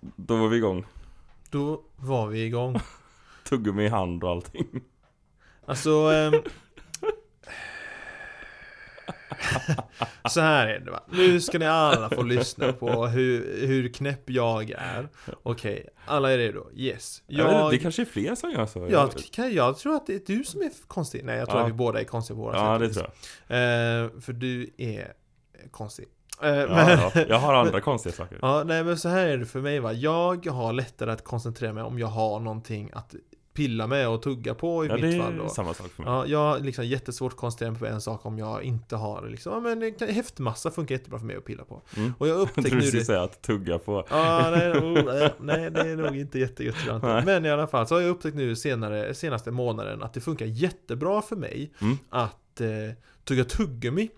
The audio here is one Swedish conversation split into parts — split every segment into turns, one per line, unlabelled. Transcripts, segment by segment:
Då var vi igång.
Då var vi igång.
Tuggummi i hand och allting.
Alltså... ehm, så här är det va. Nu ska ni alla få lyssna på hur, hur knäpp jag är. Okej, alla är redo? Yes.
Jag... vet inte,
Jag,
det kanske är fler som gör så.
jag, kan, jag tror att det är du som är konstig. Nej, jag tror
Ja.
att vi båda är konstiga på våra
ja,
sätt och
det
vis.
tror jag.
Eh, för du är konstig. Eh, men,
Ja, ja. Jag har andra konstiga saker.
Ja, nej men så här är det för mig va. Jag har lättare att koncentrera mig om jag har någonting att pilla med och tugga på i
Ja, det
mitt fall då.
är samma sak för mig.
Ja, jag har liksom jättesvårt att koncentrera mig på en sak om jag inte har liksom, ja, men det kan- häftmassa funkar jättebra för mig att pilla på.
Mm.
Och jag har
Jag
upptäckt
tror
nu
du skulle
det.
säga att tugga på.
Ja, nej, oh, nej, nej, det är nog inte jättegött tror jag inte.
Nej.
Men i alla fall så har jag upptäckt nu senare, senaste månaden att det funkar jättebra för mig
Mm.
att eh, tugga tuggummi.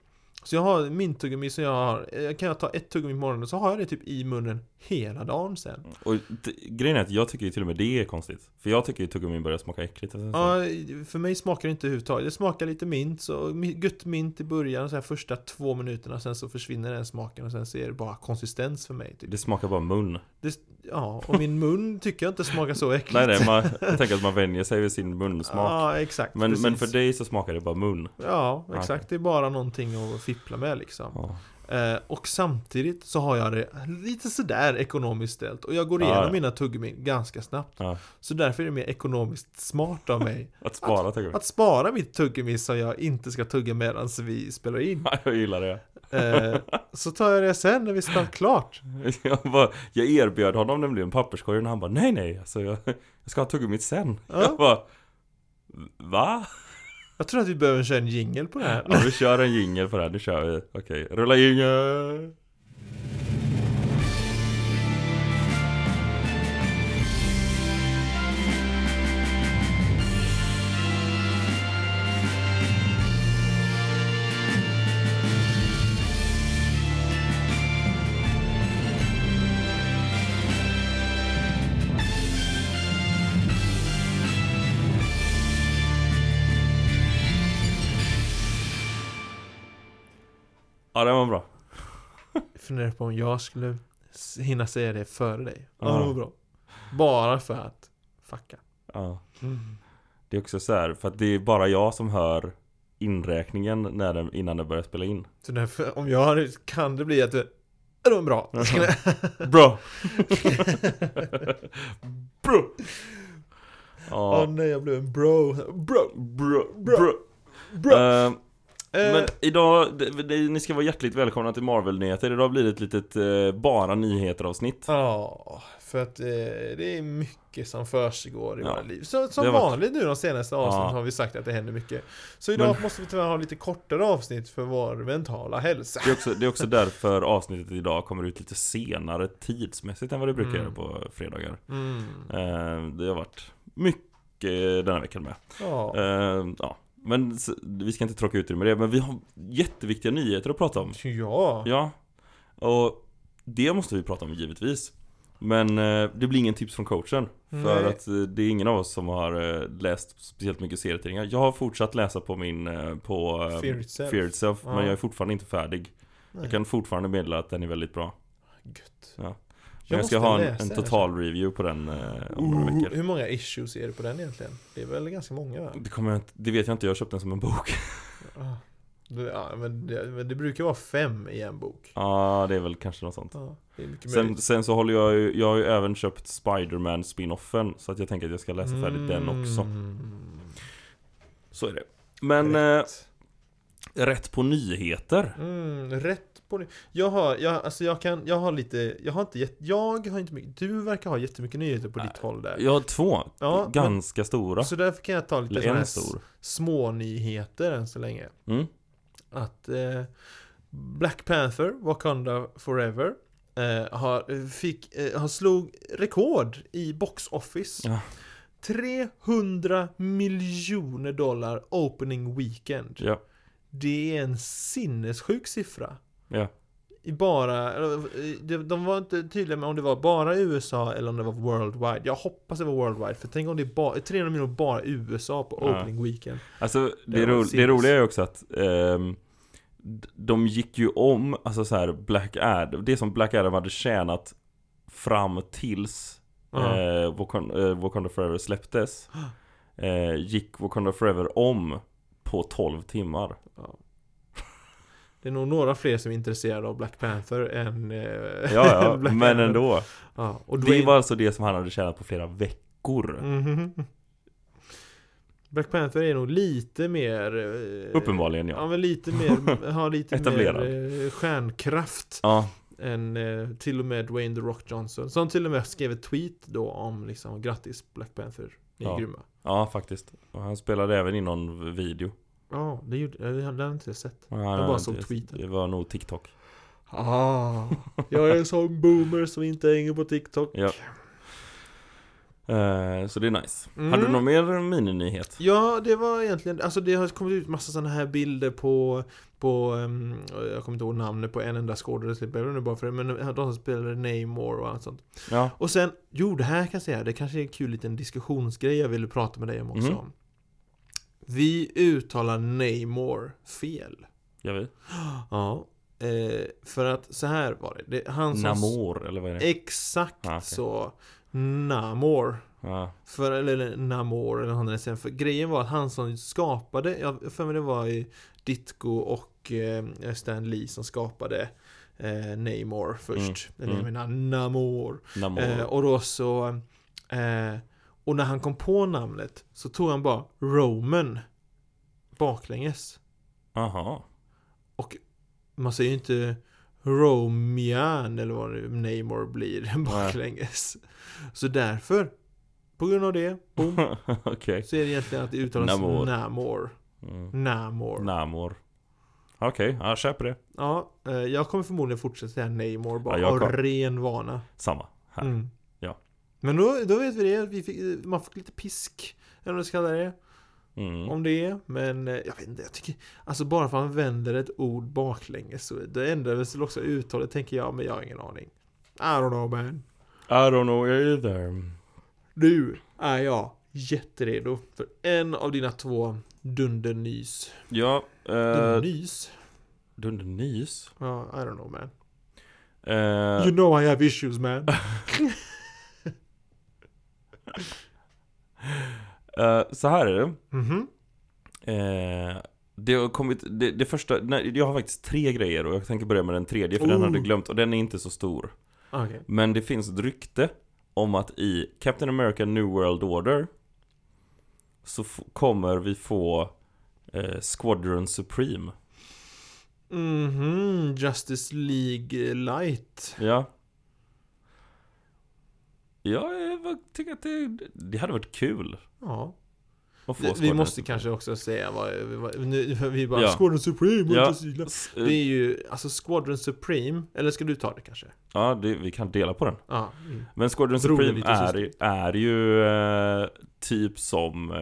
Så jag har min tuggummi som jag har, eh, kan jag ta ett tuggummi på morgonen så har jag det typ i munnen hela dagen sen.
Och t- grejen är att jag tycker ju till och med det är konstigt. För jag tycker ju tuggummi börjar smaka äckligt. Alltså, efter ett tag.
Ja, för mig smakar det inte överhuvudtaget. Det smakar lite mint, så mi- gött mint i början, så här första två minuterna, sen så försvinner den smaken och sen så är det bara konsistens för mig. Typ.
Det smakar bara mun.
Det, ja, och min mun tycker jag inte smakar så äckligt.
Nej, nej, man, jag tänker att man vänjer sig vid sin munsmak.
Ja, exakt.
men, men
precis.
för dig så smakar det bara mun.
Ja,
Ja,
exakt. Det är bara någonting att fippla med liksom.
Ja.
Eh, och samtidigt så har jag det lite sådär ekonomiskt ställt. Och jag går
Ja,
igenom
ja.
mina tuggummin ganska snabbt.
Ja.
Så därför är det mer ekonomiskt smart av mig
Att spara tuggummi.
att spara mitt tuggummi som jag inte ska tugga medan vi spelar in.
Ja, jag gillar det.
Eh, så tar jag det sen när vi spelat klart.
Jag, bara, jag erbjöd honom nämligen papperskorgen och han bara nej nej alltså jag, jag ska ha tuggummit sen.
Ja.
Jag bara Va?
Jag tror att vi behöver köra en jingle på det här.
Ja vi kör en jingel på det här, nu kör vi. Okej, rulla jingel! Ja den var bra.
Jag funderar på om jag skulle s- hinna säga det före dig. Ja,
Ja.
det var bra. Bara för att fucka.
Ja.
Mm.
Det är också så här, för att det är bara jag som hör inräkningen när den, innan den börjar spela in.
Så därför, om jag hade, kan det bli att du... Det var bra.
Bra! bro!
Åh
Ja,
nej, jag blev en bro. Bro.
bro,
Bro.
bro.
Bro.
Ehm,
Eh,
Men idag, det- det- ni ska vara hjärtligt välkomna till Marvel-nyheter. Idag blir det ett litet eh, bara nyheter-avsnitt.
Ja, för att eh, det är mycket som försiggår i
Ja.
våra liv. Så, som
Det har varit-
vanligt nu de senaste avsnitten
Ja.
har vi sagt att det händer mycket. Så idag måste vi tyvärr ha lite kortare avsnitt för vår mentala hälsa.
Det är, också, det är också därför avsnittet idag kommer ut lite senare tidsmässigt än vad det brukar
Mm.
göra på fredagar.
Mm.
Eh, det har varit mycket denna veckan med.
Ja.
Eh, ja. Men s- vi ska inte tråka ut er med det, men vi har jätteviktiga nyheter att prata om.
Ja.
Ja. Och det måste vi prata om givetvis. Men eh, det blir ingen tips från coachen. För
Nej.
att eh, det är ingen av oss som har eh, läst speciellt mycket serietidningar. Jag har fortsatt läsa på min, eh, på eh,
Fear Itself.
Fear Itself,
Ja.
men jag är fortfarande inte färdig.
Nej.
Jag kan fortfarande meddela att den är väldigt bra.
Gött.
Ja. Men
Jag
Jag, jag ska
måste
ha en,
läsa
en
den här
total review på den eh, om några
Oh,
veckor.
hur många issues är det på den egentligen? Det är väl ganska många va?
Det, kommer jag, inte- det vet jag inte, jag har köpt den som en bok. Ja,
Ah. Det- Ja, men det, men det brukar vara fem i en bok.
det är väl kanske något sånt.
Ja, det är mycket
Sen,
möjligt.
sen så håller jag ju, jag har ju även köpt Spider-Man spinoffen Så att jag tänker att jag ska läsa färdigt den också.
Mm.
Så är det. Men rätt,
Rätt.
eh, rätt på nyheter.
Mm, rätt på det. Jag har, jag, alltså jag kan, jag har lite, jag har inte jätt, jag har inte mycket, du verkar ha jättemycket nyheter på ditt håll där.
Jag har två
Ja,
ganska stora.
Så därför kan jag ta lite
Eller
sådana här
en
s-
stor.
små nyheter än så länge.
Mm.
Att eh, Black Panther, Wakanda Forever, eh, har, fick, eh, har slog rekord i box office.
Ja.
300 miljoner dollar opening weekend.
Ja.
Det är en sinnessjuk siffra.
Ja.
I bara, eller, eh, de- de var inte tydliga med om det var bara USA eller om det var worldwide. Jag hoppas det var worldwide, för tänk om det är bara, 300 miljoner bara USA på
Ja.
opening weekend.
Alltså
Det
det,
var
ro, det
sinnes.
roliga är ju också att ehm, d- de gick ju om, alltså så här Black Adam, det som Black Adam hade tjänat fram tills
Ja.
eh, Wakanda, eh, Wakanda Forever släpptes eh, Gick Wakanda Forever om på 12 timmar
Det är nog några fler som är intresserade av Black Panther än... eh,
Ja,
än
ja
Black
men
Panther.
ändå
Ja, och Dwayne...
Det var alltså det som han hade tjänat på flera veckor
Mhm. Black Panther är nog lite mer... eh,
Uppenbarligen
Ja,
ja
men lite mer... Har lite
Etablerad.
mer eh, stjärnkraft
Ja,
än eh, till och med Dwayne The Rock Johnson. Som till och med skrev ett tweet då om liksom grattis Black Panther, ni är
Ja.
grymma.
ja faktiskt Och han spelade även i någon video
Ja, det gjorde... eh, Det hade jag inte sett.
Jag
bara såg tweeten.
Det var nog TikTok
Ah, jag är en sån boomer som inte hänger på TikTok.
Ja. Eh, Så det är nice
Mm.
Hade du någon mer mininyhet?
Ja, det var egentligen, alltså det har kommit ut massa sådana här bilder på, på, ehm, jag kommer inte ihåg namnet på en enda skådespelare nu bara för det, men de som spelade Namor och allt sånt.
Ja,
Och sen, jo det här kan jag säga, det kanske är en kul liten diskussionsgrej jag ville prata med dig om också.
Mhm.
Vi uttalar Namor fel.
jag vet
Ja. Eh, för att så här var det, det han som...
Namor, eller vad är det?
Exakt
Ah, okej.
så. Namor.
Ja,
För, eller, eller Namor eller han den sen. För grejen var att han som skapade, jag jag för mig det var i Ditko och eh, Stan Lee som skapade eh, Namor först.
Mm,
Eller jag
mm.
menar Namor.
Namor
Eh, och då så... Eh, och när han kom på namnet så tog han bara Roman baklänges.
Aha.
Man säger ju inte Romian eller vad nu Namor blir baklänges. Så därför, på grund av det, boom,
Okej.
Så är det egentligen att det uttalas Namor.
Namor.
Namor.
Mm.
Namor.
Namor. Okej, ja, jag köper det.
Ja, eh, jag kommer förmodligen fortsätta säga Namor bara
Ja, jag
av
kom-
ren vana.
Samma. Här.
Mm.
Ja.
Men då, då vet vi det. att Vi fick, man fick lite pisk. Eller vad jag ska kalla det.
Mm.
Om det. Men eh, jag vet inte. Jag tycker, alltså bara för att man vänder ett ord baklänges så det ändras väl också uttalet tänker jag. Men jag har ingen aning. I don't know man.
I don't know either.
Nu är jag jätteredo för en av dina två dundernys.
Ja, eh...
Dundernys?
Dundernys?
Ja, I don't know man.
Eh,
You know I have issues man.
eh, så här är det.
Mhm.
Eh, det har kommit, det, det första, nej, jag har faktiskt tre grejer och jag tänker börja med den tredje för den
Oh.
hade jag glömt och den är inte så stor.
Okej.
Men det finns ett rykte om att i Captain America New World Order så f- kommer vi få eh, Squadron Supreme.
Mhm, Justice League Light.
Ja. Ja, jag var- tycker att det, det hade varit kul
Ja.
att få
Vi- Vi
Squadron
måste
Supreme.
kanske också säga vad vad- nu, vi bara
Ja.
Squadron Supreme och
Ja.
Justice League Light.
S- eh,
Det är ju, alltså Squadron Supreme, eller ska du ta det kanske?
Ja, det, vi kan dela på den.
Ja. Mm.
Men Squadron
Drog det
Supreme
lite
är,
sist.
ju- är ju eh, typ som... Eh,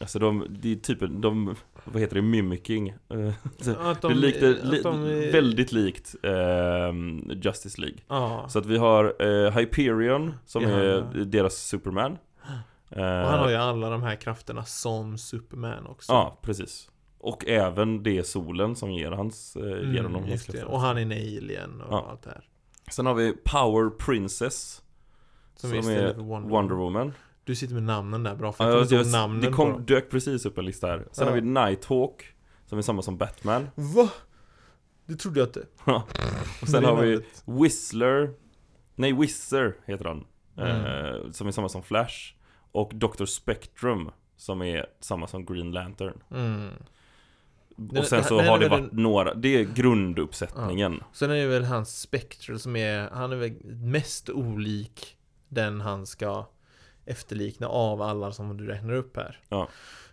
alltså de, det är typ en- de... Vad heter det? Mimicking. Eh,
Att
det är likt, li,
att de-
väldigt likt eh, Justice League.
Ja.
Så att vi har eh, Hyperion som
Ja.
är deras Superman. Eh,
Och han har ju alla de här krafterna som Superman också.
Ja, precis. Och även det är solen som ger hans, eh, ger honom
Mm,
hans
just det.
krafter.
Och han är en alien och
Ja.
allt det här.
Sen har vi Power Princess Som
Som, är
är
istället för Wonder,
Wonder Woman
Du sitter med namnen där bra, för
Ja,
jag kommer
jag-
inte ihåg namnen
Det
på
kom,
dem.
dök precis upp en lista här Sen
Ja.
har vi Nighthawk Som är samma som Batman
Va? Det trodde jag inte.
Och sen
Det är
har vi
namnet.
Whistler Nej, Whizzer heter han
Mm.
eh, Som är samma som Flash Och Dr. Spectrum Som är samma som Green Lantern
Mm.
Och sen så
det här
har
är
det
väl
varit några Det är grunduppsättningen
Sen är det väl hans Spectral som är, han är väl mest olik den han ska efterlikna av alla som du räknar upp här.
Ja.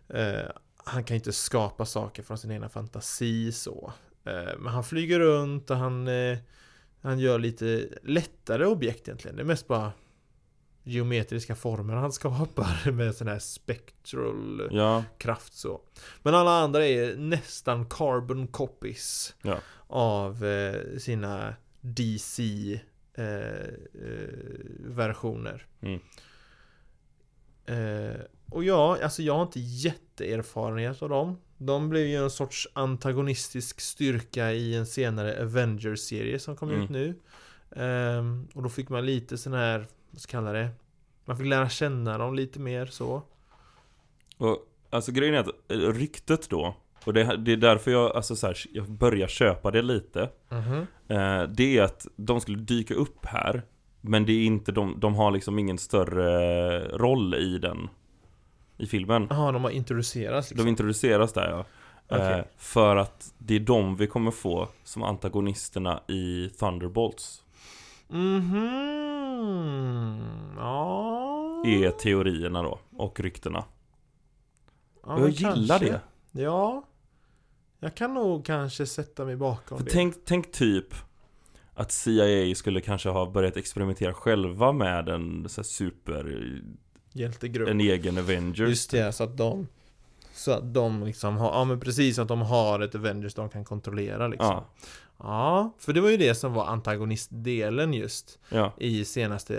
Eh, han kan ju inte skapa saker från sin egna fantasi så. Eh, men han flyger runt och han, eh, han gör lite lättare objekt egentligen. Det är mest bara geometriska former han skapar med sån här Spectral
Ja,
kraft så. Men alla andra är nästan carbon copies
Ja.
av eh, sina eh, DC-versioner.
Mm.
eh, och ja, alltså jag har inte jätteerfarenhet av dem. De blev ju en sorts antagonistisk styrka i en senare Avengers-serie som kom ut
Mm.
nu. Ehm, och då fick man lite sån här, vad ska jag kalla det? Man fick lära känna dem lite mer så.
Och alltså grejen är att eh, ryktet då, och det, det är därför jag, alltså, så här, jag börjar köpa det lite.
Mhm.
Eh, det är att de skulle dyka upp här Men det är inte de, de har liksom ingen större eh, roll i den I filmen
Jaha, de har introducerats
De
liksom.
introduceras där ja Eh,
Okej.
För att det är de vi kommer få som antagonisterna i Thunderbolts
Mhm. Ja.
Är teorierna då, och ryktena
ja,
Och jag
men
gillar
kanske.
det!
Ja. Jag kan nog kanske sätta mig bakom
För
det.
tänk, tänk typ att CIA skulle kanske ha börjat experimentera själva med en så här super,
Hjältegrupp.
en egen Avengers
Just det, så att de Så att de liksom har, ja men precis att de har ett Avengers de kan kontrollera liksom Ja,
Ja,
för det var ju det som var antagonistdelen just
ja,
I senaste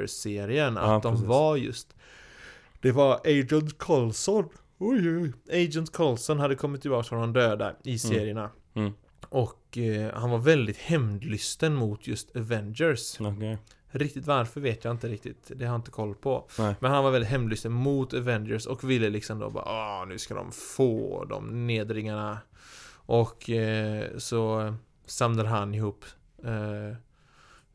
Avengers-serien, att
Ja,
de
precis.
var just Det var Agent Coulson Oj, oj. Agent Coulson hade kommit tillbaka från de döda i serierna
Mm.
Och eh, han var väldigt hämndlysten mot just Avengers
okej
Riktigt varför vet jag inte riktigt. Det har jag inte koll på.
Nej.
Men han var väldigt hemlysten mot Avengers och ville liksom då bara Åh, nu ska de få de nedringarna. Och eh, så samlade han ihop eh,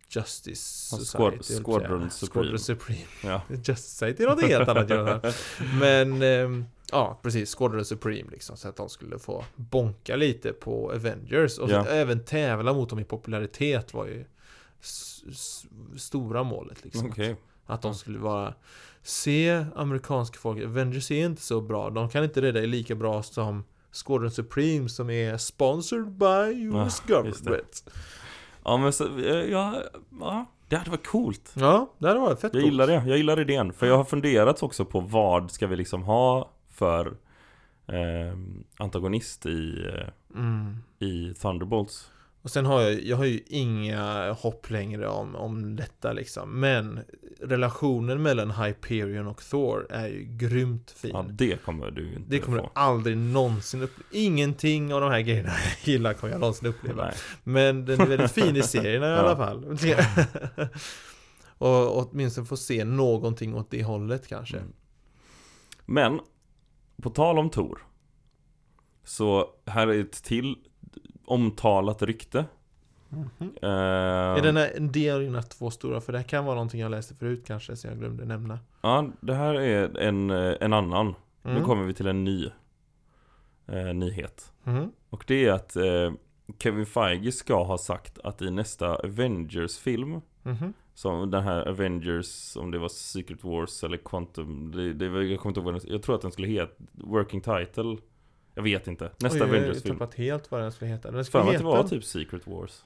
Justice
Ja,
Society.
Squad-
höll jag på att säga.
Squadron Supreme.
Squadron Supreme.
Ja,
Justice Society är något helt annat Jonathan. Men ehm, ja, precis. Squadron Supreme liksom. Så att de skulle få bonka lite på Avengers. Och
Ja.
så även tävla mot dem i popularitet var ju s- s- stora målet liksom.
okej
Att de skulle vara Se amerikanska folk, Avengers är inte så bra. De kan inte rädda er lika bra som Squadron Supreme som är sponsored by
Ah,
US
just det.
government.
Ja men så, eh, ja, ja, det hade varit coolt.
Ja, det hade varit fett
Jag
coolt.
gillar det, jag gillar idén. För jag har funderat också på vad ska vi liksom ha för eh, antagonist i, eh,
Mm.
i Thunderbolts.
Och sen har jag, jag har ju inga hopp längre om, om detta liksom. Men relationen mellan Hyperion och Thor är ju grymt fin.
Ja, det kommer du ju inte
det kommer du
få.
aldrig någonsin uppleva. Ingenting av de här grejerna jag gillar kommer jag någonsin uppleva.
Nej.
Men den är väldigt fin i serierna i
Ja.
alla fall. och, och åtminstone få se någonting åt det hållet kanske.
Mm. Men, på tal om Tor. Så här är ett till omtalat rykte.
Mhm.
Eh,
Är den här en del av dina två stora? För det här kan vara någonting jag läste förut kanske, som jag glömde nämna.
Ja, det här är en, eh, en annan. Nu
Mm.
kommer vi till en ny eh, nyhet.
Mhm.
Och det är att eh, Kevin Feige ska ha sagt att i nästa Avengers-film
Mhm.
Som den här Avengers, om det var Secret Wars eller Quantum det, det, var- Jag kommer inte ihåg vad den, jag tror att den skulle heta Working Title Jag vet inte, nästa
Oj, Jag
Avengers-film
har tappat helt vad den skulle heta. Den skulle
För mig
heta...
att det var typ Secret Wars
Ja,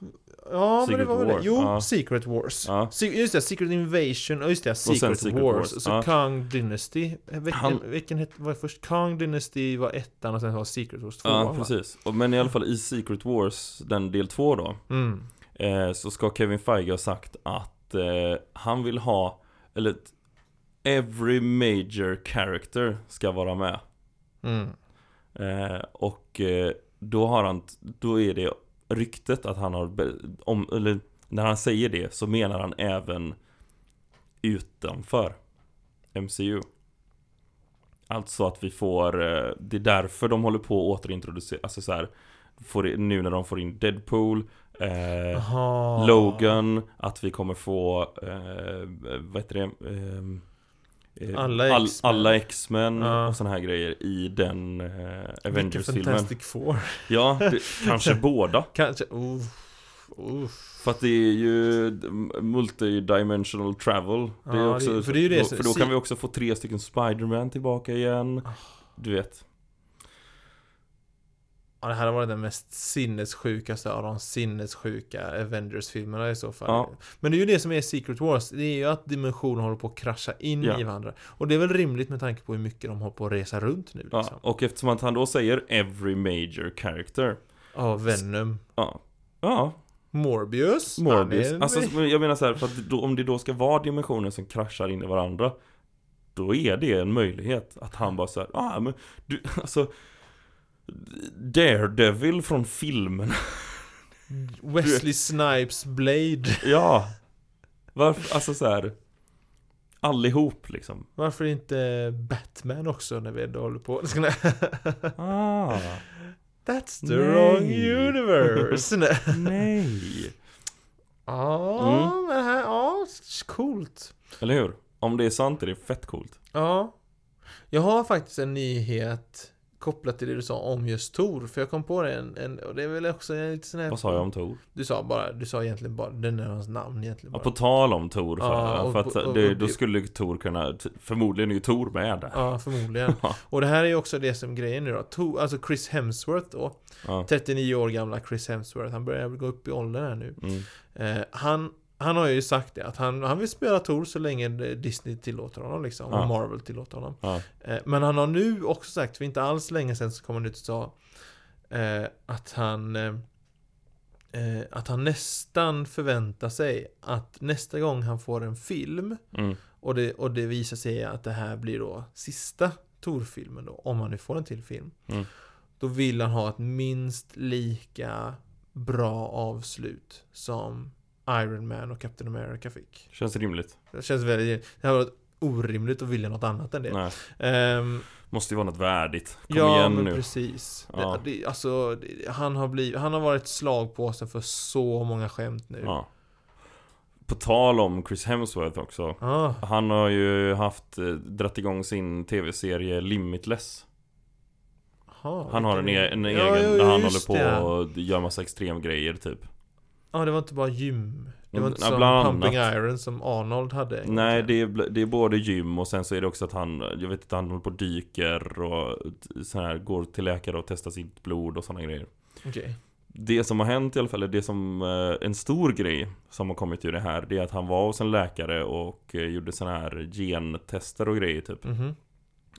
men det
Secret
var väl det.
War.
Jo,
Ja.
Secret Wars.
Ja.
Se- Just det, Secret Invasion och just det,
sen
Secret,
Secret
Wars.
Wars,
Och så
ja.
Kong Dynasty. Eh, Vilken,
Han-
vilken het, var först? Kong Dynasty var ettan och sen var Secret Wars tvåan
Ja,
va?
precis Och, Men i alla fall i Secret Wars, den del två då
Mm.
eh, Så ska Kevin Feige ha sagt att eh, han vill ha Eller ett- Every major character ska vara med
Mm.
Eh, och eh, då har han, då är det ryktet att han har, be- om, eller när han säger det så menar han även utanför MCU. Alltså att vi får, eh, det är därför de håller på att återintroducera, alltså så här, får det, nu när de får in Deadpool, eh,
Aha.
Logan, att vi kommer få, eh, vad heter det? Ehm, eh,
Alla
all,
X-Men. Ah.
alla X-Men
Ja.
och såna här grejer i den eh,
Vilken
Avengers-filmen.
Fantastic Four.
Ja, det, kanske båda.
Kanske, uff, uff.
För att det är ju multidimensional travel. Det är
Ja,
också,
det- för det är ju det som- Ah.
för då kan
si-
vi också få tre stycken Spider-Man tillbaka igen. Du vet.
Ja, det här har varit den mest sinnessjukaste av de sinnessjuka Avengers-filmerna i så fall.
Ja.
Men det är ju det som är Secret Wars. Det är ju att dimensioner håller på att krascha in
Ja.
i varandra. Och det är väl rimligt med tanke på hur mycket de håller på att resa runt nu liksom.
Ja, och eftersom att han då säger 'Every major character'
Ja, Venom.
Ja, ja
Morbius.
Morbius.
Han är-
Alltså, men jag menar så här, för att då, om det då ska vara dimensioner som kraschar in i varandra Då är det en möjlighet att han bara så här, ah men du, alltså Daredevil från filmen
Wesley Snipes Blade.
Ja! Varför, alltså så här. Allihop liksom.
Varför inte Batman också när vi ändå håller på?
Ah,
That's the
Nej.
wrong universe! Nej.
nej!
Ja,
Mm.
men här, ja, coolt.
Eller hur? Om det är sant är det fett coolt.
Ja. Jag har faktiskt en nyhet kopplat till det du sa om just Tor, för jag kom på det en, en och det är väl också en lite sån här...
Vad sa jag om Tor?
Du sa bara, du sa egentligen bara, den är hans namn egentligen
Ja,
bara.
på tal om Tor för,
Ja, och-
för att
och- och-
det, då skulle Tor kunna, förmodligen är ju Tor med där.
Ja, förmodligen.
Ja.
Och det här är ju också det som grejen nu då. Tor, alltså Chris Hemsworth då.
Ja.
39 år gamla Chris Hemsworth, han börjar gå upp i åldern här nu.
Mm.
Eh, han, han har ju sagt det, att han, han vill spela Tor så länge Disney tillåter honom liksom.
Ja.
Och Marvel tillåter honom.
Ja.
Eh, Men han har nu också sagt, för inte alls länge sedan så kom han ut och sa eh, att han eh, eh, att han nästan förväntar sig att nästa gång han får en film
Mm.
och det, och det visar sig att det här blir då sista Tor-filmen då, om han nu får en till film.
Mm.
Då vill han ha ett minst lika bra avslut som Iron Man och Captain America fick.
Känns rimligt.
Det känns väldigt... Det här var orimligt att vilja något annat än det.
Nej.
Ehm,
Måste ju vara något värdigt. Kom
ja,
igen
men
nu.
precis.
Ja.
Det, det, alltså, det, han, har blivit, han har varit slagpåsen för så många skämt nu.
Ja. På tal om Chris Hemsworth också.
Ah,
Han har ju haft, eh, dratt igång sin tv-serie Limitless
aha,
Han har en, e-
vilken-
en
Ja,
egen
ja,
där han håller
just
på
det.
och gör massa extremgrejer typ
Ja, det var inte bara gym. Det var inte
Ja,
som
bland
Pumping
annat.
Iron som Arnold hade. en gång
Nej
till.
det är, bl- det är både gym och sen så är det också att han, jag vet inte, han håller på och dyker och t- sån här, går till läkare och testar sitt blod och sådana grejer
Okej.
Det som har hänt i alla fall, eller det som, eh, en stor grej som har kommit ur det här Det är att han var hos en läkare och eh, gjorde sådana här gentester och grejer typ
Mhm.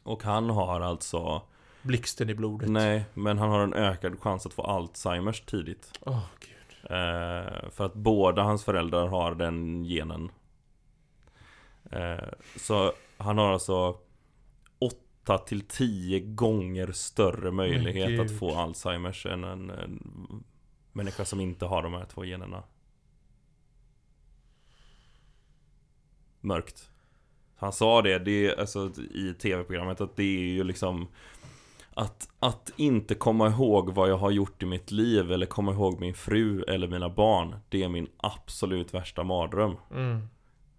Och han har alltså
Blixten i blodet.
Nej, men han har en ökad chans att få Alzheimers tidigt.
Åh, gud.
Eh, för att båda hans föräldrar har den genen. Eh, så han har alltså 8 till 10 gånger större möjlighet att
gud.
få Alzheimers än en, en människa som inte har de här två generna. Mörkt. Han sa det, det är, alltså, i tv-programmet att det är ju liksom att, att inte komma ihåg vad jag har gjort i mitt liv eller komma ihåg min fru eller mina barn Det är min absolut värsta mardröm
Mm.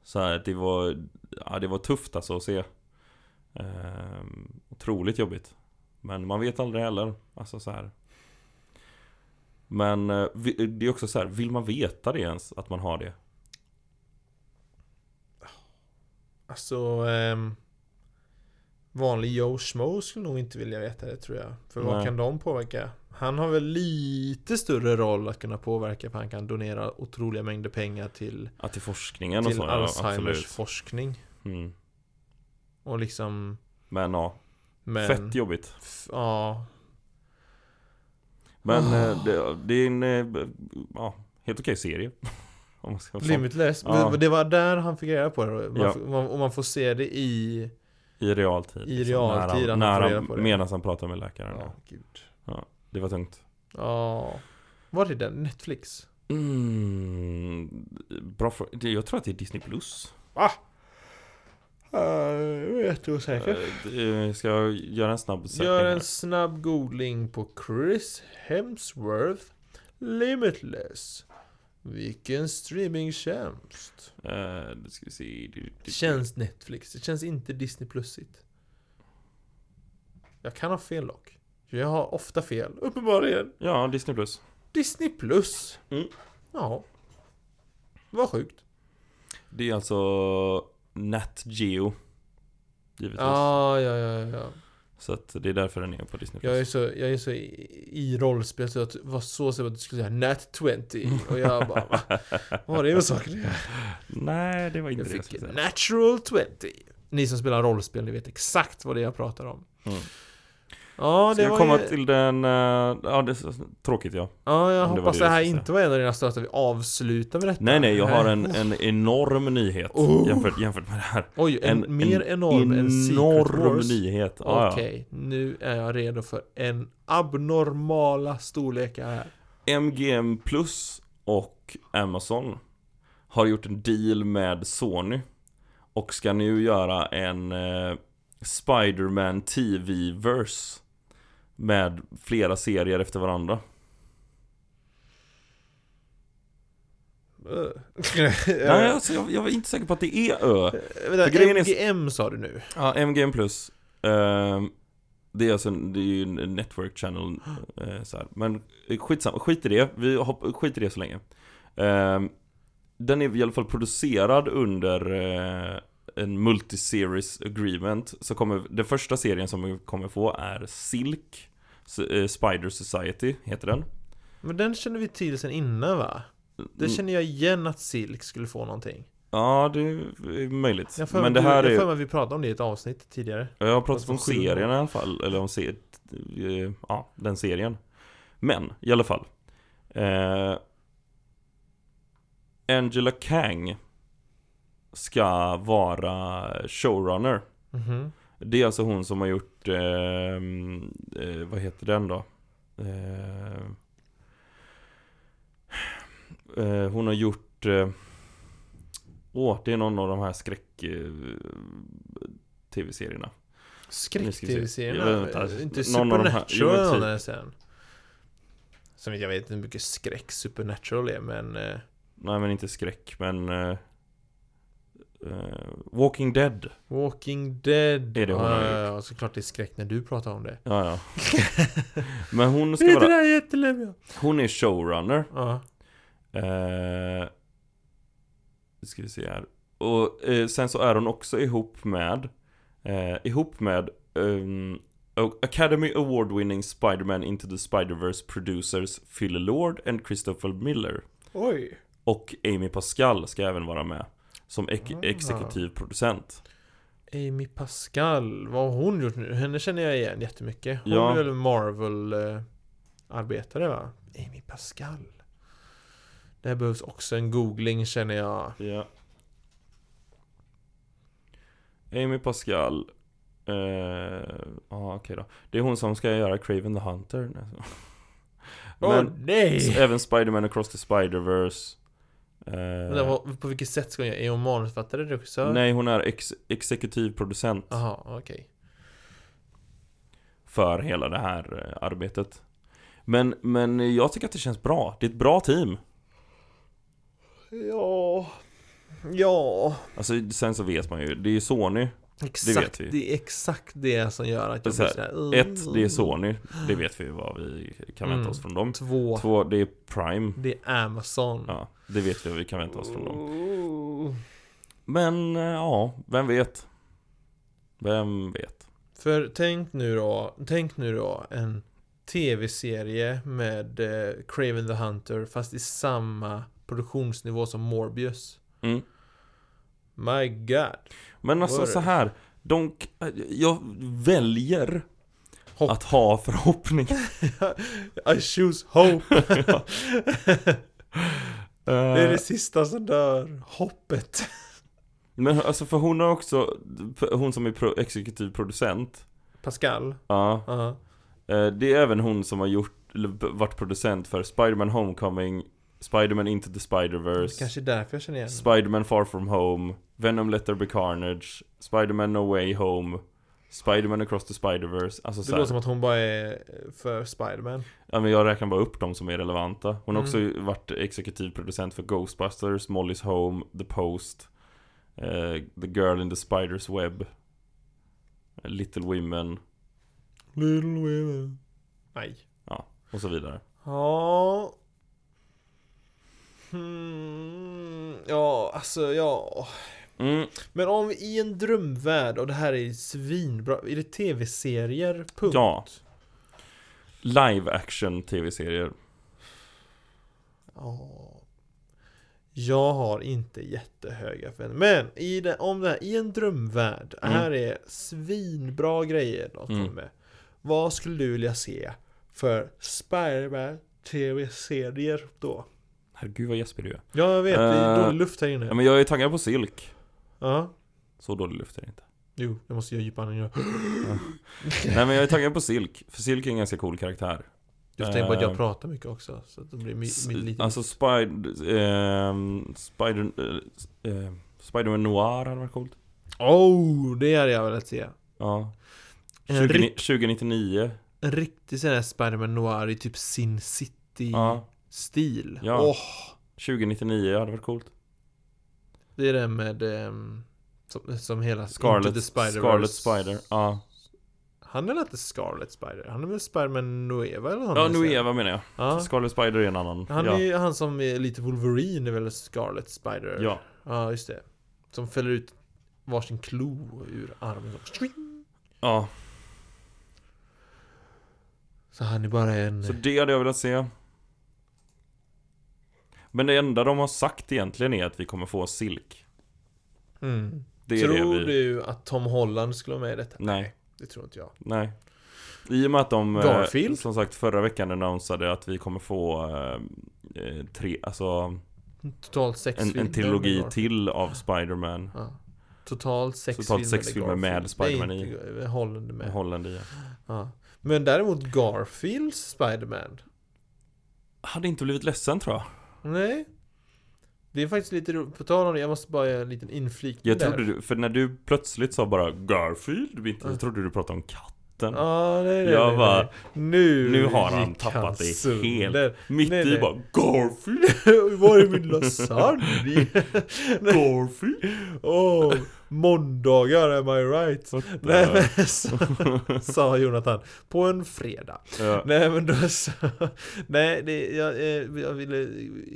Så här, det var, ja, det var tufft alltså att se ehm, Otroligt jobbigt Men man vet aldrig heller, alltså så här. Men eh, vi- det är också så här, vill man veta det ens? Att man har det?
Alltså, ehm, vanlig Joe Schmo skulle nog inte vilja veta det tror jag. För vad
Nej.
kan de påverka? Han har väl lite större roll att kunna påverka för han kan donera otroliga mängder pengar till,
Att till forskningen och
till
så? ja,
Alzheimers
absolut.
forskning.
Mm.
Och liksom...
Men ja,
Men,
fett jobbigt
f- Ja.
Men
Ah.
eh, det, det är en eh, b- ja, helt okej serie. Om man ska vara sån.
Limitless.
Ja.
Men Det var där han fick reda på det. Man,
Ja.
f- man, och man får se det i...
I realtid.
I realtid
Liksom,
han
när
får
han,
reda
när
på
han,
det.
medan han pratar med läkaren.
Ja, gud.
Det var tungt.
Ja. Var det den? Netflix?
Mm, bra frå- det- Jag tror att det är Disney Plus.
Ja, jag vet osäker.
Eh, det- eh, Ska jag göra en snabb sökning?
Gör en
här?
snabb googling på Chris Hemsworth Limitless. Vilken streamingtjänst?
Eh, det ska vi se. Du-
Det
du-
känns Netflix. Det känns inte Disney Plusigt. Jag kan ha fel dock. Jag har ofta fel. Uppenbarligen.
Ja, Disney Plus.
Disney Plus.
Mm.
Ja. Vad sjukt.
Det är alltså Nat Geo. Givetvis.
Ah, ja, ja, ja, ja.
Så att det är därför den är på Disney Plus.
Jag är så, jag är så i, i rollspel så jag t- var så säker på att du skulle säga Nat 20 Och jag bara va? Vad är det för saker det är?
Nej, det var inte
Jag
det jag skulle
fick
säga.
Natural 20 Ni som spelar rollspel, ni vet exakt vad det är jag pratar om
Mm.
Ja,
Ska
det
jag
var
komma
ju...
till den... eh, ja, det är tråkigt ja.
Ja, jag
Om det var
hoppas
det
det
du
här
skulle
inte var en av dina största vi avslutar med detta
Nej, nej, jag har en, en enorm nyhet
Oh.
jämfört, jämfört med det här.
Oj, en,
en-
mer enorm än Secret
enorm
Wars
nyhet. Ja,
Okej, nu är jag redo för en abnormala storlekar här
ja. MGM Plus och Amazon har gjort en deal med Sony och ska nu göra en eh, Spider-Man TV-verse med flera serier efter varandra.
Ö.
Nej, alltså, jag, jag var inte säker på att det är Ö.
Eh, Vänta,
För grejen är-
MGM sa du nu?
Ja, MGM Plus. Ehm, det är alltså en, det är ju en network channel eh, så här. Men skitsamma, skit i det. Vi hopp, skit i det så länge. Ehm, den är i alla fall producerad under eh, en multiseries agreement. Så kommer, den första serien som vi kommer få är Silk. S- eh, Spider Society heter den.
Men den känner vi till sen innan va?
Mm.
Det känner jag igen att Silk skulle få någonting
Ja, det är möjligt.
Jag för
Men det här
jag
är
för mig att vi pratade om det i ett avsnitt tidigare
Jag har pratat
Fast
om
vad skillnad.
serien i alla fall, eller om se, eh, ja, den serien. Men, i alla fall. Eh, Angela Kang ska vara showrunner.
Mhm.
Det är alltså hon som har gjort, eh, eh, vad heter den då? Eh, eh, hon har gjort, eh, åh, det är någon av de här skräck... Eh, TV-serierna. Nu ska vi se. Jag vet inte,
Skräck-tv-serierna?
alltså,
Inte
någon av de här- jo, men
Supernatural typ. sen? Som jag vet inte hur mycket skräck Supernatural är men... eh,
Nej men inte skräck men eh, eh, Walking Dead
Walking Dead
Är det hon har
Ja, ja, ja, såklart det är skräck när du pratar om det
ja, ja. Men hon
Är
ska
inte det
vara,
här jätteläbbiga?
hon är showrunner
Ja
eh, Ska vi se här Och eh, sen så är hon också ihop med eh, Ihop med ehm, Academy Award winning Spider-Man Into the Spider-Verse producers Phil Lord and Christopher Miller
Oj
Och Amy Pascal ska även vara med Som ek-
Ah.
exekutiv producent
Amy Pascal, vad har hon gjort nu? Henne känner jag igen jättemycket Hon
Ja.
är väl Marvel-arbetare va? Amy Pascal Det här behövs också en googling känner jag
Ja. Amy Pascal. Eh, Ja, okej då. Det är hon som ska göra Craven the Hunter. Nej, så.
Åh
Men
nej!
även Spider-Man Across the Spider-Verse. Eh,
Vänta, vad- på vilket sätt ska hon göra? Är hon manusförfattare, regissör?
nej, hon är ex- exekutiv producent
Jaha, okej
för hela det här eh, arbetet. Men, men jag tycker att det känns bra. Det är ett bra team.
Ja... Ja...
Alltså, sen så vet man ju. Det är ju Sony.
Exakt,
vet vi.
det är exakt det som gör att jag
Så
blir
här,
sådär...
Ett, det är Sony. Det vet vi vad vi kan vänta oss från dem.
Två,
Två, det är Prime.
det är Amazon.
Ja, det vet vi vad vi kan vänta oss från
Mm.
dem.
dem.
Men eh, ja, vem vet? Vem vet?
För tänk nu då, tänk nu då en tv-serie med eh, Craven the Hunter fast i samma produktionsnivå som Morbius.
Mm.
My God.
Men alltså
Word.
så här, de, eh, jag väljer
Hopp.
att ha Eh, förhoppning.
I choose hope. Det är
Eh,
det sista som dör. Hoppet.
Men alltså för hon har också, hon som är pro, exekutiv producent,
Pascal.
ja,
Ja.
eh, det är även hon som har gjort, eller b- varit producent för Spider-Man Homecoming, Spider-Man Into the Spider-Verse.
Kanske därför jag känner igen
Spider-Man Far From Home, Venom Let There Be Carnage, Spider-Man No Way Home, Spider-Man Across the Spider-Verse. Alltså
Det
så här,
låter som att hon bara är eh, för Spiderman.
ja, men jag räknar bara upp de som är relevanta. Hon
Mm.
har också varit exekutiv producent för Ghostbusters, Molly's Home, The Post, eh, The Girl in the Spider's Web, eh, Little Women
Little women. Nej.
och så vidare.
Ja. Hmm. Ja, alltså ja.
Mm,
Men om vi i en drömvärld, och det här är svinbra, är det tv-serier? Punkt.
ja. Live action tv-serier.
Ja. Jag har inte jättehöga förväntningar. Men i det, om det här, i en drömvärld, det här är svinbra grejer de kommer
Mm.
med. Vad skulle du vilja se för Spiderman tv-serier då?
Herregud vad Jesper du är.
Ja, jag vet, det är
Eh,
dålig luft här
Ja,
inne.
men jag är taggad på Silk.
Ja.
Så dålig luft är det inte.
Jo, jag måste göra djupa andningar.
Nej men jag är taggad på Silk, för Silk är en ganska cool karaktär
Du får tänka på att
Eh,
jag pratar mycket också. Så att det blir mi- mi- lite...
Alltså Spider... ehm, Spider... eh, eh, Spider-Man Noir hade varit coolt.
Oh, det hade jag velat se.
Ja.
En
20,
rik-
2099.
En riktig sån här Spiderman Noir i typ Sin
Ja.
City-stil.
Ja.
Åh,
2099 hade varit coolt.
det är det med... ehm, som, som hela... Into the
Scarlet,
Spider-Verse.
Scarlet Spider. Ja.
Han är väl inte Scarlet Spider? Han är väl Spiderman Nueva eller något
Ja,
sånt där.
Nueva menar jag.
Ja.
Scarlet Spider är en annan.
Han
ja.
är ju han som är lite Wolverine, är väl Scarlet Spider?
ja.
Ja, just det. Som fäller ut varsin klo ur armen. Så,
Ja.
så han är bara en...
Så det hade jag velat se. Men det enda de har sagt egentligen är att vi kommer få Silk.
Mm.
Det är
tror
det vi...
du att Tom Holland skulle vara med i detta?
Nej.
Det tror inte jag.
Nej. I och med att de, eh,
Garfield?
som sagt, förra veckan annonsade att vi kommer få eh, eh, tre, alltså
Totalt sex
en,
filmer.
en
med
trilogi
Garfield.
till av Spider-Man.
Ja. Totalt sex
Totalt
filmer
sex filmer med
Garfield.
Spiderman
Nej, inte Ga- Holland är
Med
med.
Holland i.
Ja. Men däremot Garfields Spiderman.
Hade inte blivit ledsen tror jag.
Nej. Det är faktiskt lite roligt. På tal om det, jag måste bara göra en liten inflikning
Jag
där.
trodde du, för när du plötsligt sa bara Garfield, mitt- jag trodde du pratade om katten.
Ja, nej, nej,
Jag
nej,
bara,
nej. Nu,
nu har han
gick
tappat det
sönder.
Mitt
nej,
i
nej.
bara Garfield,
Var är min lasagne?
Garfield.
Åh, måndagar am I right? Nej men så, sa Jonathan, på en fredag.
Ja.
Nej men då så, Nej, det, jag, eh, jag ville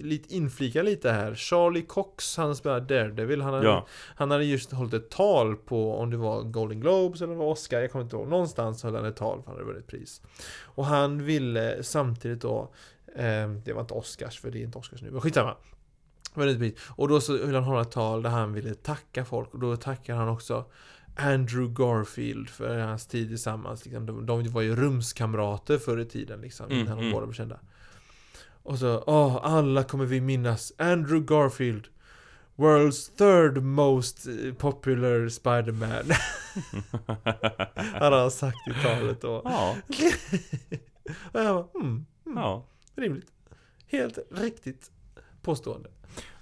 lite inflika lite här. Charlie Cox, han spelar Daredevil, han hade,
Ja.
han hade just hållit ett tal på, om det var Golden Globes eller om det var Oscar, jag kommer inte ihåg. Någonstans höll han ett tal, för han hade vunnit pris. Och han ville samtidigt då, eh, det var inte Oscars, för det är inte Oscars nu, men skitsamma. Vunnit pris. Och då så ville han hålla ett tal där han ville tacka folk, och då tackar han också Andrew Garfield för hans tid tillsammans. Liksom, de, de var ju rumskamrater förr i tiden liksom,
Mm,
innan de
mm.
båda blev kända. Och så, åh, alla kommer vi minnas Andrew Garfield. World's third most eh, popular Spider-Man. hade han sagt i talet då.
ja,
Och jag bara, mm,
ja.
rimligt. Helt riktigt påstående.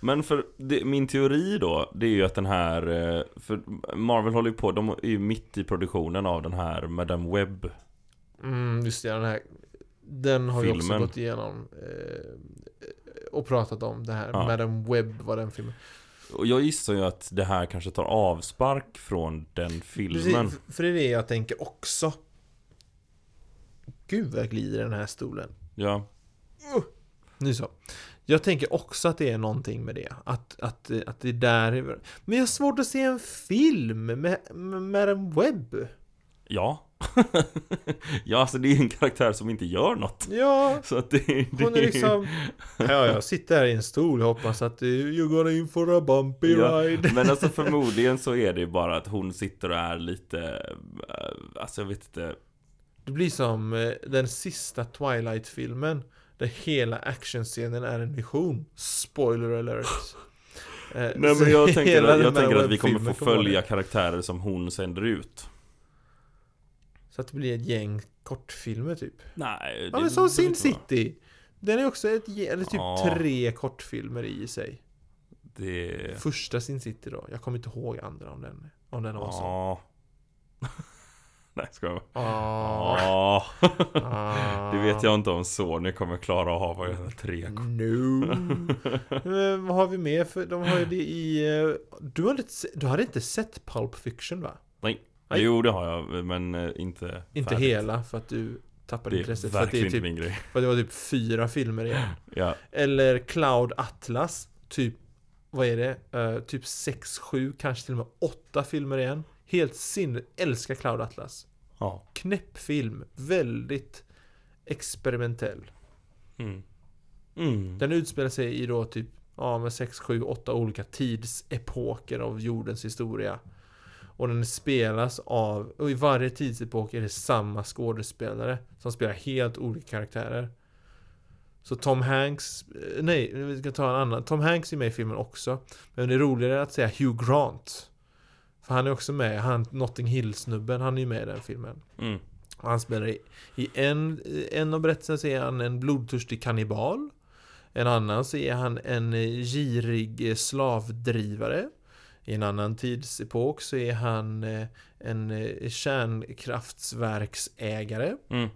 Men för det, min teori då, det är ju att den här, eh, för Marvel håller ju på, de är ju mitt i produktionen av den här Madame Webb
Mm, just det, den här Den har vi också
Filmen.
gått igenom eh, Och pratat om det här
Ja.
Madam Webb var den filmen
Och jag gissar ju att det här kanske tar avspark från den filmen.
Precis, För det är det jag tänker också Gud vad jag glider i den här stolen
Ja.
Nu så Jag tänker också att det är någonting med det Att, att, eh, att det där är Men jag har svårt att se en film med, med Madam Webb
Ja. ja, alltså det är ju en karaktär som inte gör något.
Ja
Så att det, det
Hon är liksom, ja jag sitter här i en stol och hoppas att eh, you're gonna in for a bumpy
Ja,
ride
Men alltså förmodligen så är det ju bara att hon sitter och är lite... eh, Alltså jag vet inte.
Det blir som eh, den sista Twilight-filmen Där hela actionscenen är en vision Spoiler alert Eh,
Nej
så
men jag tänker,
hela
att-
den
jag
här
tänker att vi kommer
webbfilmen
få
vara
följa
det.
karaktärer som hon sänder ut.
Så att det blir ett gäng kortfilmer typ
Nej,
Ja
det
men som
behöver
Sin
inte vara.
City Den är också ett gäng, eller typ
Ja.
tre kortfilmer i sig
Det...
Första Sin City då, jag kommer inte ihåg andra om den Om den var så
Ja. Nej, ska jag
Ah.
Ja.
Ah.
Det vet jag inte om Sony kommer klara att ha vad jag heter, tre
Mm.
kort.
No. Men Eh, vad har vi mer för? De har ju det i... eh, Du hade inte, se- du hade inte sett Pulp Fiction va?
Nej.
Nej.
Jo det har jag, men eh, inte
Inte
färdigt.
hela för att du tappade
Det är
intresset. För att det,
verkligen
är
inte
typ,
min grej.
för att det var typ fyra filmer igen.
Ja,
Eller Cloud Atlas. Typ, vad är det? Eh, typ sex, sju, kanske till och med åtta filmer igen. Helt sinne. Älskar Cloud Atlas.
ja.
Knäpp film. Väldigt experimentell.
Mm. Mm.
Den utspelar sig i då typ ja, men 6, 7, 8 olika tidsepoker av jordens historia. Och den spelas av, och i varje tidsepok är det samma skådespelare som spelar helt olika karaktärer. Så Tom Hanks, eh, nej, vi ska ta en annan. Tom Hanks är med i filmen också. Men det är roligare att säga Hugh Grant. För han är också med, han Notting Hill-snubben, han är ju med i den filmen.
Mm.
Och Han spelar i, i en, i en av berättelserna så är han en blodtörstig kannibal. En annan så är han en eh, girig eh, slavdrivare. I en annan tidsepok så är han eh, en eh, kärnkraftsverksägare.
Mm.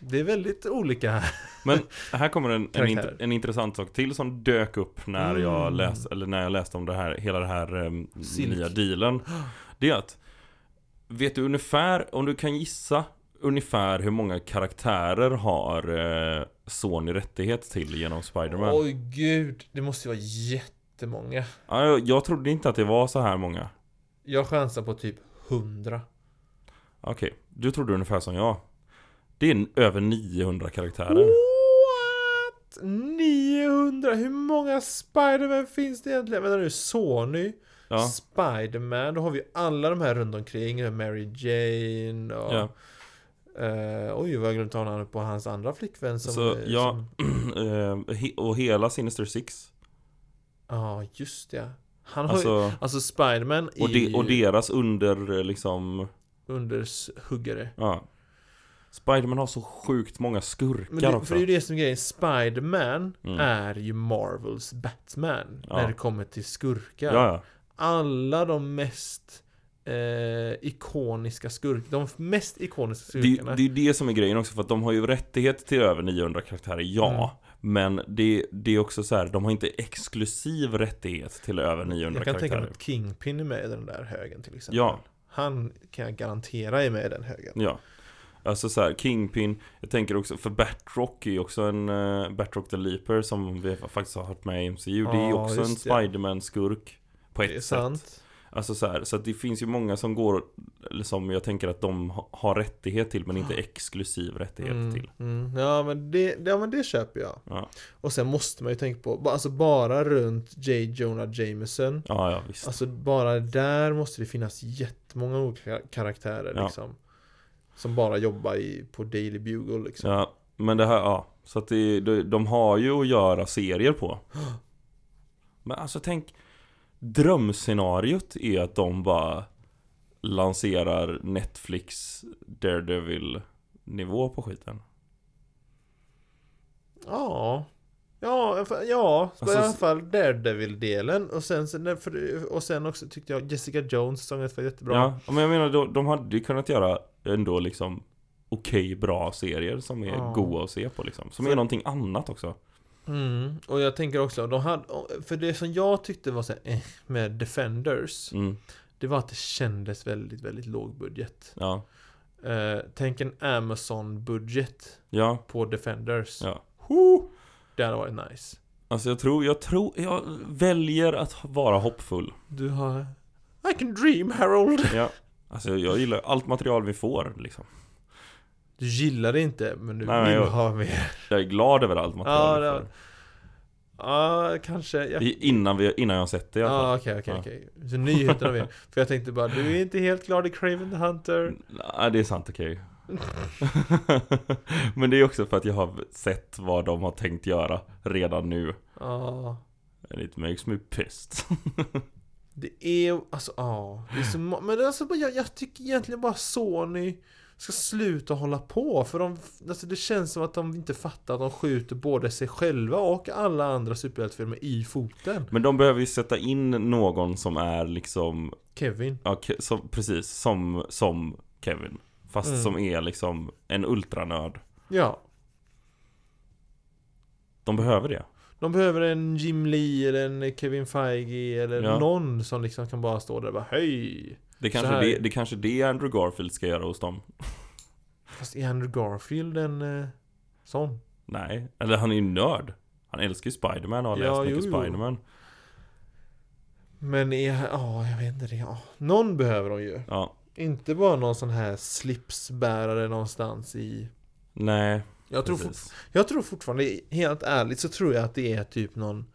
Det är väldigt olika här.
Men här kommer en, en, int-
Karaktärer.
en intressant sak till som dök upp när, jag,
Mm.
läs, eller när jag läste om det här, hela den här em,
Silk.
nya dealen. Det är att, vet du ungefär, om du kan gissa ungefär hur många karaktärer har eh, Sony rättighet till genom Spider-Man?
Oj gud, det måste ju vara jättemånga.
Ja, jag, jag trodde inte att det var så här många.
Jag chansar på typ 100.
Okej, du trodde ungefär som jag. Det är n- över 900 karaktärer.
What? 900? Hur många Spiderman finns det egentligen? Vänta nu, Sony,
Ja,
Spiderman, då har vi ju alla de här runt omkring. Mary Jane och...
ja.
Eh, oj, vad jag glömt ta namnet på hans andra flickvän som...
Så,
eh,
ja.
som-
Ehm, he- och hela Sinister Six.
Ja, just det. Han har ju...
Alltså,
Alltså Spiderman är
och, de, och
ju
deras under eh, liksom,
underhuggare.
ja. Spiderman har så sjukt många skurkar
Men det,
också.
för det är ju det som är grejen. Spiderman
Mm.
är ju Marvels Batman.
Ja.
När det kommer till skurkar.
ja, ja.
alla de mest eh, ikoniska skurkarna, de mest ikoniska
Det,
skurkarna.
det är det som är grejen också för att de har ju rättighet till över 900 karaktärer, ja.
Mm.
Men det, det är också så här, de har inte exklusiv rättighet till över 900
jag kan tänka
karaktärer.
mig att Kingpin är med i den där högen till exempel.
Ja.
Han kan jag garantera är med i den högen.
Ja. Alltså så här, Kingpin, jag tänker också, för Batrock är ju också en, eh, Batrock the Leaper som vi faktiskt har hört med i MCU, det är ju
Ja,
också en
just det.
Spiderman-skurk på ett
Det är
sätt.
sant.
Alltså så här, så att det finns ju många som går, eller som jag tänker att de ha- har rättighet till men inte exklusiv rättighet
Mm,
till.
mm. Ja, men det, ja men det köper jag.
Ja.
Och sen måste man ju tänka på, ba- alltså bara runt J. Jonah Jameson.
Ja, ja visst.
Alltså bara där måste det finnas jättemånga olika karaktärer
Ja.
liksom. Som bara jobbar i, på Daily Bugle liksom.
Ja, men det här, ja. Så att det, de, de har ju att göra serier på. Men alltså tänk, drömscenariot är att de bara lanserar Netflix Daredevil nivå på skiten.
Ja. Ja, för- ja så
Alltså,
i alla fall Daredevil-delen. Och sen, sen- för- och sen också tyckte jag Jessica Jones sånget var jättebra.
Ja, men jag menar de, de hade ju kunnat göra ändå liksom okej bra serier som är
Ja.
goa att se på liksom. Som
För-
är någonting annat också.
Mm. Och jag tänker också, de hade, för det som jag tyckte var så här, eh, med Defenders,
Mm,
det var att det kändes väldigt, väldigt låg budget.
ja,
Eh, tänk en Amazon-budget
ja,
på Defenders.
ja.
Ho! Det hade varit nice.
Alltså jag tror, jag tror, jag väljer att vara hoppfull.
Du har... I can dream, Harold!
Ja, alltså jag gillar allt material vi får liksom.
Du gillar det inte, men du
Nej, men
vill
jag-
ha mer.
Jag är glad över allt
Ja,
material
det-
vi
Ja, kanske. Jag
får. I- Innan, vi, innan jag har sett det i alla fall.
Ja, okej, okej, okej. Så nyheterna med. För jag tänkte bara, du är inte helt klar i Craven the
Mm.
Hunter.
Nej, det är sant, okej. Men det är också för att jag har sett vad de har tänkt göra redan nu.
Ja.
And it makes me pissed.
Det är, alltså ja. Det är så ma- Men alltså, bara- jag, jag tycker egentligen bara Sony ska sluta hålla på. För de, alltså, det känns som att de inte fattar att de skjuter både sig själva och alla andra superhjältefilmer i foten.
Men de behöver ju sätta in någon som är liksom,
Kevin.
ja, ke- som, precis, som, som Kevin. Fast
Mm.
som är liksom en ultranörd.
Ja.
De behöver det.
De behöver en Jim Lee eller en Kevin Feige eller
Ja.
någon som liksom kan bara stå där och bara hej.
Det
Så
kanske,
här-
det, det kanske det Andrew Garfield ska göra hos dem.
Fast är Andrew Garfield en eh, sån?
Nej, eller han är ju nörd. Han älskar ju Spiderman och har
Ja,
läst mycket
jo, jo.
Spiderman.
Men är, ja, jag vet inte det. Ja. Någon behöver de ju.
Ja,
Inte bara någon sån här slipsbärare någonstans i...
nej.
Jag tror, fort,
precis.
jag tror fortfarande, helt ärligt så tror jag att det är typ någon...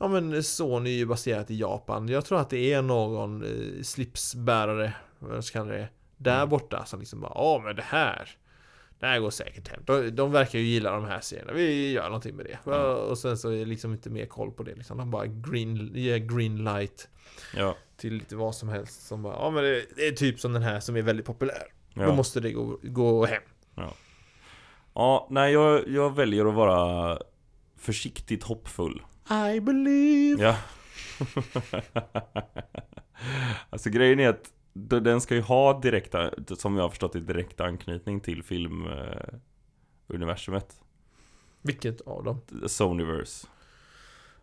Ja men Sony är ju baserat i Japan. Jag tror att det är någon eh, slipsbärare, vad jag ska kalla det, där
Mm.
borta som liksom bara Ja men det här, det här går säkert hem. De, de verkar ju gilla de här serierna, vi gör någonting med det.
Mm.
Och sen så är det liksom inte mer koll på det liksom. De bara green, ger green light
Ja,
till lite vad som helst som bara, ja men det, det är typ som den här som är väldigt populär. Då
ja.
måste det gå, gå hem.
Ja, nej jag, jag väljer att vara försiktigt hoppfull.
I believe
Ja. alltså grejen är att d- den ska ju ha direkta, som jag har förstått det, direkt anknytning till eh, filmuniversumet.
Vilket av dem?
Sonyverse.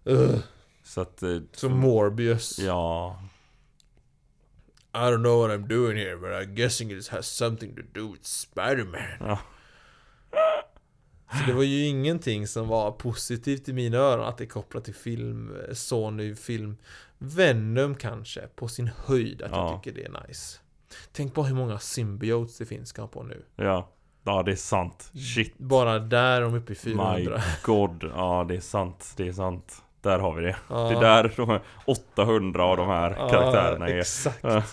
Ugh.
Så att... eh,
Som Morbius
Ja.
I don't know what I'm doing here but I'm guessing it has something to do with Spider-Man
Ja.
Så det var ju ingenting som var positivt i mina öron att det är kopplat till film, eh, Sony film Venom kanske, på sin höjd att
Ja.
jag tycker det är nice Tänk bara hur många symbiotes det finns kan jag på nu
Ja. Ja, det är sant. Shit.
Bara där de är uppe i 400
My god. Ja, det är sant. Det är sant. Där har vi det.
Ja.
Det är där de här 800 av de här
Ja,
karaktärerna är.
Exakt
Ja.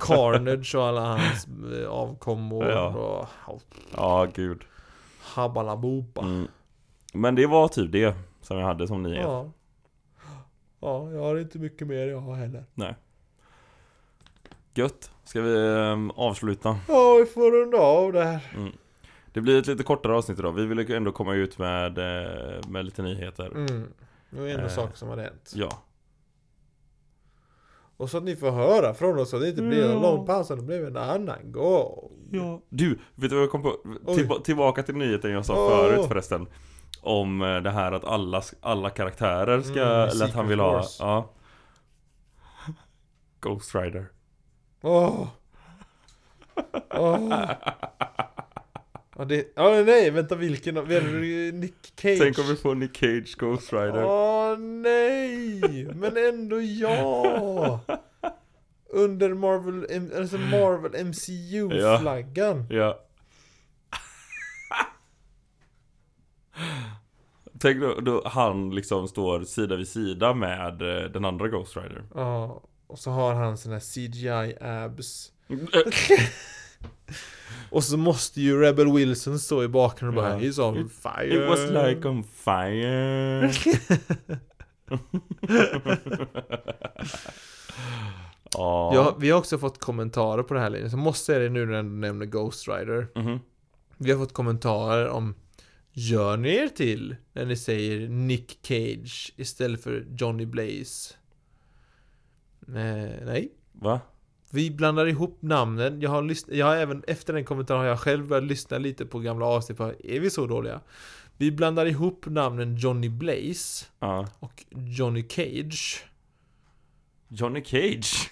Carnage och alla hans eh, avkommor
Ja.
och
Ja, gud.
habalaboba.
Mm. Men det var typ det som jag hade som nyhet.
Ja. ja, jag har inte mycket mer jag har heller.
Gött. Ska vi ehm, avsluta?
Ja, vi får runda av det här.
Det blir ett lite kortare avsnitt idag. Vi ville ju ändå komma ut med, eh, med lite nyheter.
Mm. Det var ändå
Eh.
saker som hade hänt.
Ja.
Och så att ni får höra från oss så att det inte blir
Ja.
en lång paus utan det blir en annan gång.
Du, vet du vad jag kom på?
Oj.
Tillba- tillbaka till nyheten jag sa
Åh.
förut förresten. Om eh, det här att alla, alla karaktärer ska,
Mm,
eller att han vill ha,
Secret Wars.
ja. Ghost Rider.
Åh! Åh! Ja, det... Ja, nej, vänta vilken? av- Vem- Nick Cage?
Tänk om vi får Nick Cage Ghost Rider.
Åh nej! Men ändå ja! Under Marvel, M- alltså Marvel MCU-flaggan.
Ja. Tänk då, då han liksom står sida vid sida med eh, den andra Ghost Rider.
Ja. och så har han såna här CGI-abs. och så måste ju Rebel Wilson stå i bakgrunden och bara
Ja.
He's on fire.
It was like on fire. ja.
Ja, vi har också fått kommentarer på det här linjen, så jag måste säga det nu när jag nämner Ghost Rider.
Mhm.
Vi har fått kommentarer om Gör ni er till när ni säger Nick Cage istället för Johnny Blaze? Eh, nej.
Va?
Vi blandar ihop namnen. Jag har, lyssn- jag har även efter den kommentaren har jag själv börjat lyssna lite på gamla avsnitt. på, Är vi så dåliga? Vi blandar ihop namnen Johnny Blaze
Ja.
och Johnny Cage.
Johnny Cage.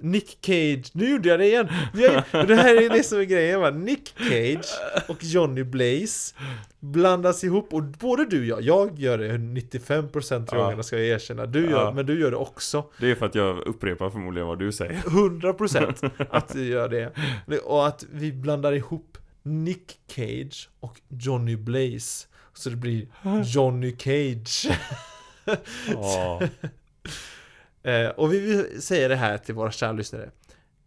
Nick Cage, nu gjorde jag det igen! Jag, det här är det som är grejen va, Nick Cage och Johnny Blaze blandas ihop och både du och jag, jag gör det 95% av
Ja.
gångerna ska jag erkänna, du gör,
Ja.
men du gör det också
Det är för att jag upprepar förmodligen vad du säger.
100% att du gör det och att vi blandar ihop Nick Cage och Johnny Blaze så det blir Johnny Cage
Ja.
Eh, och vi vill säga det här till våra kära lyssnare.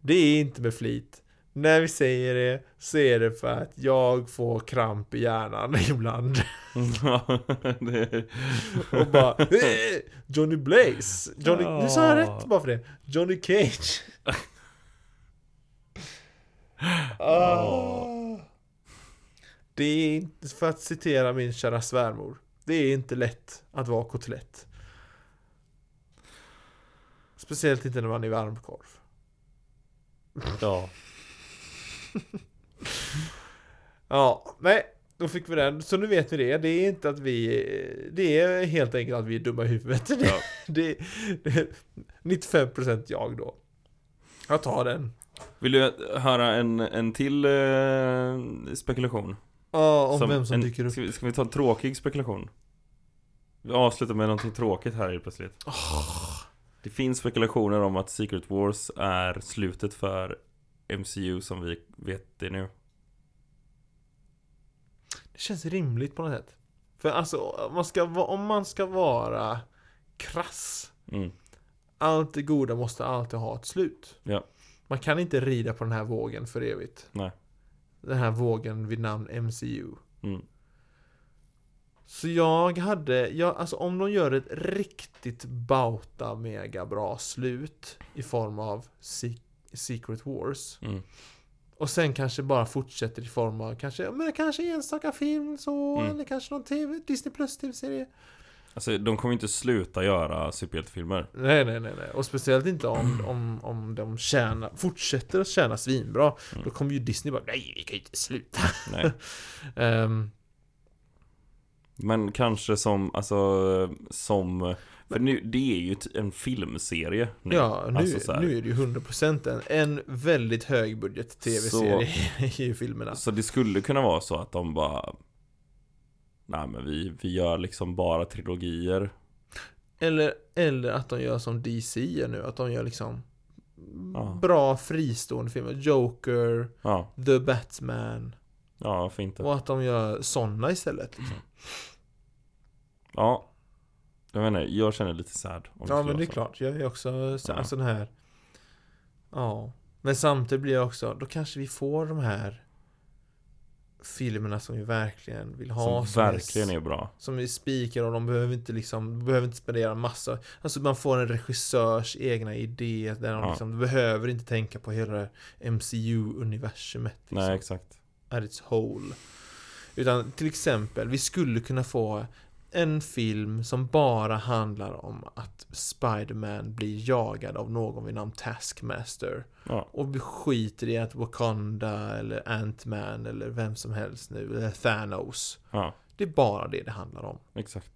Det är inte med flit. När vi säger det så är det för att jag får kramp i hjärnan ibland.
det...
Och bara "Eh, Johnny Blaze! Johnny... Nu sa jag
Ja.
rätt bara för det. Johnny Cage. ah. Det är inte, för att citera min kära svärmor. Det är inte lätt att vara kotlett. Speciellt inte när man är varmkorv.
Ja.
Ja, nej. Då fick vi den. Så nu vet vi det. Det är inte att vi... Det är helt enkelt att vi är dumma i huvudet. Det,
Ja.
det, det, 95% jag då. Jag tar den.
Vill du höra en, en till eh, spekulation?
Ja, om vem som dyker upp.
Ska vi, ska vi ta en tråkig spekulation? Vi avslutar med någonting tråkigt här helt plötsligt. Det finns spekulationer om att Secret Wars är slutet för MCU som vi vet det nu.
Det känns rimligt på något sätt. För alltså, om man ska, va- om man ska vara krass.
Mm.
Allt det goda måste alltid ha ett slut.
Ja.
Man kan inte rida på den här vågen för evigt.
Nej.
Den här vågen vid namn MCU.
Mm.
Så jag hade, jag, alltså om de gör ett riktigt bauta mega bra slut i form av Se- Secret Wars
Mm.
Och sen kanske bara fortsätter i form av kanske, ja, men det kanske enstaka film så,
Mm.
eller kanske någon TV, Disney Plus TV-serie.
Alltså de kommer inte sluta göra superhjältefilmer.
Nej, nej, nej, nej. Och speciellt inte
Mm.
om, om, om de tjänar, fortsätter att tjäna svinbra.
Mm.
Då kommer ju Disney bara, nej, vi kan ju inte sluta.
Nej.
Ehm,
Men kanske som, alltså som... För nu, det är ju t- en filmserie nu.
ja, nu,
alltså så här.
nu är det ju 100% en, en väldigt högbudget TV-serie i filmerna.
Så det skulle kunna vara så att de bara... Nej men vi, vi gör liksom bara trilogier.
Eller, eller att de gör som DC gör nu, att de gör liksom
Ja.
bra fristående filmer. Joker,
Ja,
The Batman
ja varför inte?
och att de gör sådana istället. Liksom.
Ja. Jag menar, jag känner lite sad. Om
Ja
skulle
men det
vara
är
så.
klart, jag är också så,
Ja.
alltså den här Ja Men samtidigt blir jag också, då kanske vi får de här Filmerna som vi verkligen vill ha
Som verkligen
är,
är bra.
Som vi spikar och de behöver inte liksom de behöver inte spendera massa Alltså man får en regissörs egna idé där de
Ja.
liksom behöver inte tänka på hela det här MCU-universumet liksom,
Nej, exakt.
at its whole Utan till exempel, vi skulle kunna få en film som bara handlar om att Spider-Man blir jagad av någon vid namn Taskmaster.
Ja.
Och vi skiter i att Wakanda eller Ant-Man eller vem som helst nu, eller Thanos.
Ja,
Det är bara det det handlar om.
exakt.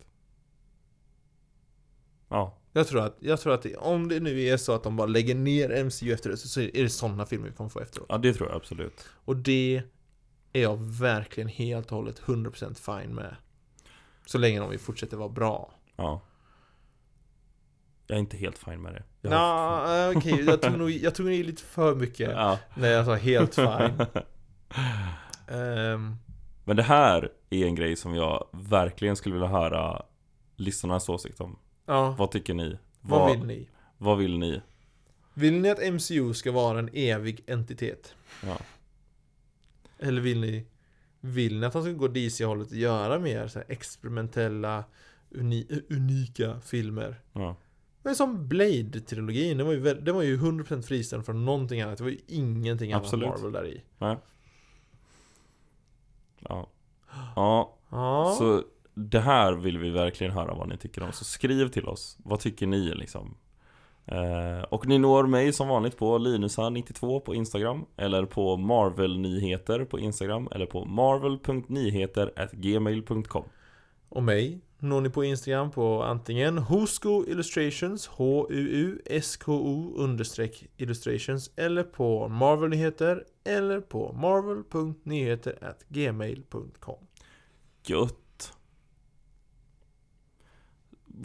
Ja,
Jag tror att, jag tror att det, om det nu är så att de bara lägger ner MCU efter det, så- så är det sådana filmer vi kommer få efteråt.
ja det tror jag absolut.
Och det är jag verkligen helt och hållet 100% fine med. Så länge de fortsätter vara bra.
Ja. Jag är inte helt fine med det. Jag har-
Nja, eh, okej, jag tog nog jag tog nog i lite för mycket
Ja.
när jag sa helt fine. Ehm,
Men det här är en grej som jag verkligen skulle vilja höra lyssnarnas åsikt om.
ja,
Vad tycker ni?
vad vill ni?
Vad vill ni?
Vill ni att MCU ska vara en evig entitet?
Ja.
Eller vill ni Vill ni att de ska gå DC-hållet och göra mer så här experimentella uni, unika filmer?
Ja.
Men som Blade-trilogin, den var ju, väl, den var ju 100% fristående från någonting annat. Det var ju ingenting annat
Absolut.
Marvel där i.
Ja. ja.
Ja.
Så det här vill vi verkligen höra vad ni tycker om. Så skriv till oss. Vad tycker ni liksom? Eh, och ni når mig som vanligt på linusa92 på Instagram eller på marvelnyheter på Instagram eller på marvel.nyheter@gmail.com.
Och mig når ni på Instagram på antingen Husko Illustrations, H-U-U-S-K-O understreck illustrations eller på Marvel Nyheter eller på marvel.nyheter.gmail.com
Gött!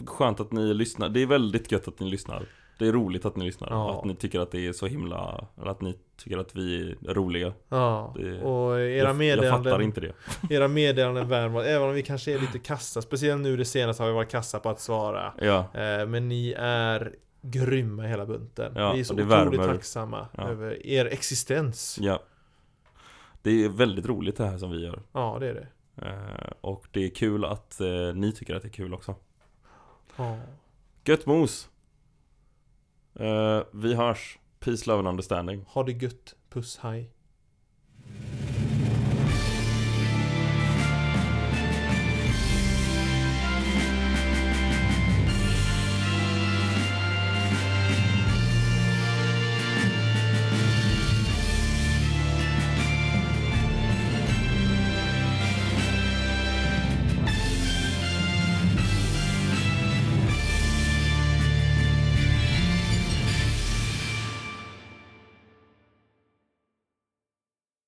Skönt att ni lyssnar. Det är väldigt gött att ni lyssnar. Det är roligt att ni lyssnar.
Ja.
Att ni tycker att det är så himla... Eller att ni tycker att vi är roliga.
Ja,
Det-
och era
Jag, jag fattar
meddelanden,
inte det.
era meddelanden värmer även om vi kanske är lite kassa. Speciellt nu det senaste har vi varit kassa på att svara.
Ja.
Eh, Men ni är grymma hela bunten.
Ja,
vi är så
och det
otroligt
värmer.
tacksamma
Ja.
över er existens.
Ja Det är väldigt roligt det här som vi gör
Ja, det är det.
Eh, Och det är kul att eh, ni tycker att det är kul också
Ja.
Gött mos! Eh, Vi hörs Peace, love and understanding
Ha det gött. Puss, hej.